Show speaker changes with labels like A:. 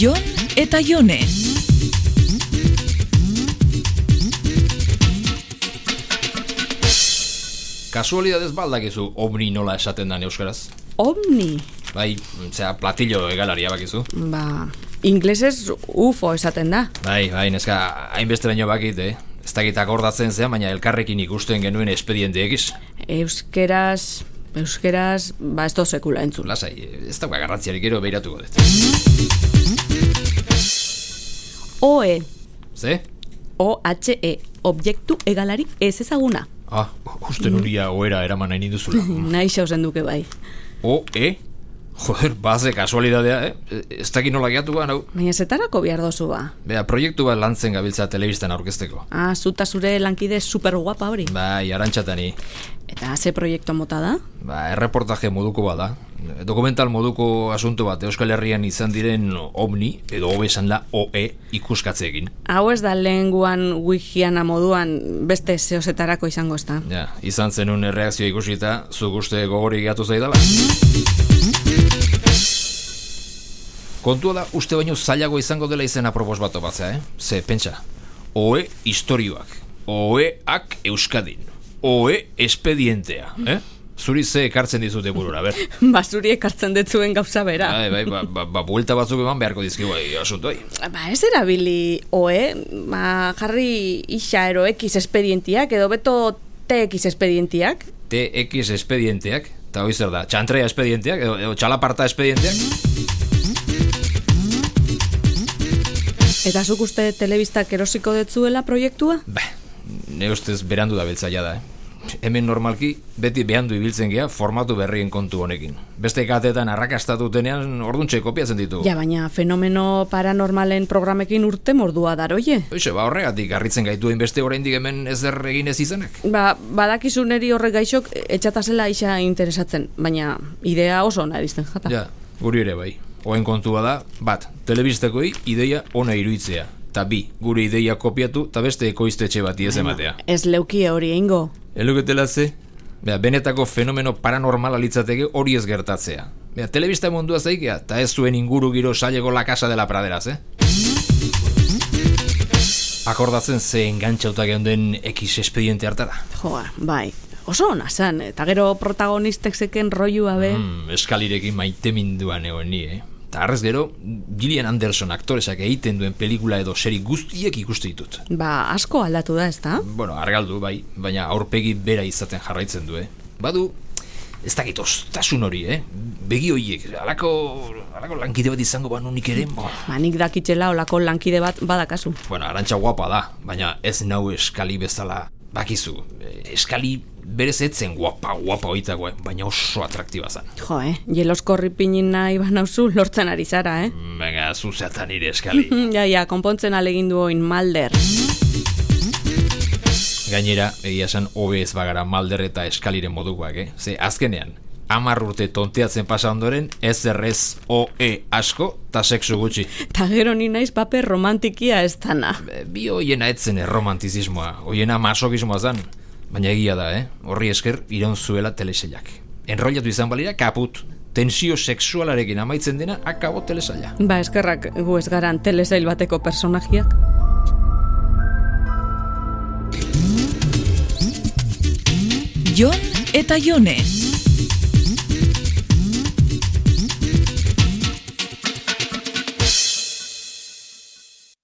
A: Jon eta Jone.
B: Kasualidadez baldakizu omni nola esaten den euskaraz.
C: Omni.
B: Bai, zera platillo egalaria bakizu.
C: Ba, inglesez UFO esaten da.
B: Bai, bai, neska hainbesteraino bakit, eh? Ez dakit akordatzen zean, baina elkarrekin ikusten genuen espediente egiz.
C: Euskeraz, euskeraz, ba ez do sekula entzun.
B: Lasai, ez dauka garrantziarik gero beiratuko dut.
C: OE,
B: Ze?
C: O-H-E, E, objektu egalari ez ezaguna.
B: Ah, uste nuria oera eraman nahi ninduzula.
C: Naixa ozen duke bai.
B: O, e? Joder, baze kasualidadea, eh? Ez dakit nola gehiatu hau.
C: Baina zetarako behar dozu ba.
B: Bea, proiektu bat lantzen gabiltza telebistan aurkezteko.
C: Ah, zuta zure lankide superguapa hori.
B: Bai, arantxatani.
C: Eta ze proiektu mota da?
B: Ba, erreportaje moduko bada. Dokumental moduko asunto bat Euskal Herrian izan diren OVNI, edo hobe esan da E, OE ikuskatzeekin.
C: Hau ez da lehenguan wikiana moduan beste zeozetarako izango ez da.
B: Ja, izan zenun erreakzioa ikusita, zu guste gogori gehatu zaidala. Kontua da, uste baino zailago izango dela izena propos bat topatzea, eh? Ze, pentsa, OE istorioak, OEak Euskadin, OE espedientea, eh? Zuri ze ekartzen dizute burura, ber?
C: Basuri Ba, ekartzen detzuen gauza bera.
B: Bai, bai, ba, ba, ba, buelta batzuk eman beharko dizkigu bai, asuntoi.
C: Ba, ez erabili oe, ba, jarri isa ero X espedientiak, edo beto TX espedientiak.
B: TX espedienteak, eta hoi zer da, txantrea espedienteak, edo, edo txalaparta espedienteak.
C: Eta zuk uste telebistak erosiko detzuela proiektua?
B: Ba, ne ustez berandu da beltza jada, eh? Hemen normalki, beti behandu ibiltzen gea formatu berrien kontu honekin. Beste katetan arrakastadutenean orduntxe kopiatzen ditu.
C: Ja, baina fenomeno paranormalen programekin urte mordua daroie.
B: Hoxe, ba horregatik garritzen gaitu beste oraindik hemen ezer egin ez izanak.
C: Ba, badakizu neri horrek gaixok etxatazela isa interesatzen, baina idea oso ona erizten jata.
B: Ja, guri ere bai. Oen kontua da, bat, telebistakoi ideia ona iruitzea. Eta bi, gure ideia kopiatu eta beste ekoiztetxe bati ez ematea.
C: Ez leukie hori eingo.
B: Eluketela ze? Bea, benetako fenomeno paranormala litzateke hori ez gertatzea. Bea, telebista mundua zaikea, eta ez zuen inguru giro saileko la casa de la praderaz, eh? Akordatzen ze engantxauta geunden X espediente hartara.
C: Joa, bai. Oso ona zan, eta gero protagonistek zeken roiua be.
B: Mm, eskalirekin maite minduan egon ni, eh? Eta harrez gero, Gillian Anderson aktoresak egiten duen pelikula edo seri guztiek ikuste ditut.
C: Ba, asko aldatu da, ez da?
B: Bueno, argaldu, bai, baina aurpegi bera izaten jarraitzen du, eh? Badu, ez dakit ostasun hori, eh? Begi horiek, alako, alako lankide bat izango banunik ere, bo.
C: Ba, nik dakitxela olako lankide bat badakazu.
B: Bueno, arantxa guapa da, baina ez nau eskali bezala bakizu. eh, Eskali berez etzen guapa, guapa oitagoa, baina oso atraktiba zan.
C: Jo, eh? Jeloskorri pinin nahi banauzu lortzen ari zara, eh?
B: Baina, zuzatan nire eskali.
C: Mm, Ja, ja, konpontzen alegin du oin malder.
B: Gainera, egia esan hobe ez bagara malder eta eskaliren modukoak, eh? Ze, azkenean, amar urte tonteatzen pasa ondoren, ez errez OE asko eta sexu gutxi.
C: Ta gero ni naiz paper romantikia ez dana.
B: E, Bi hoiena etzen erromantizismoa, hoiena masokismoa zan. Baina egia da, eh? Horri esker, iraun zuela telesailak. Enrollatu izan balira, kaput. Tensio sexualarekin amaitzen dena, akabo telesaila.
C: Ba, eskerrak gu ez garan telesail bateko personajiak.
A: Jon eta Jone.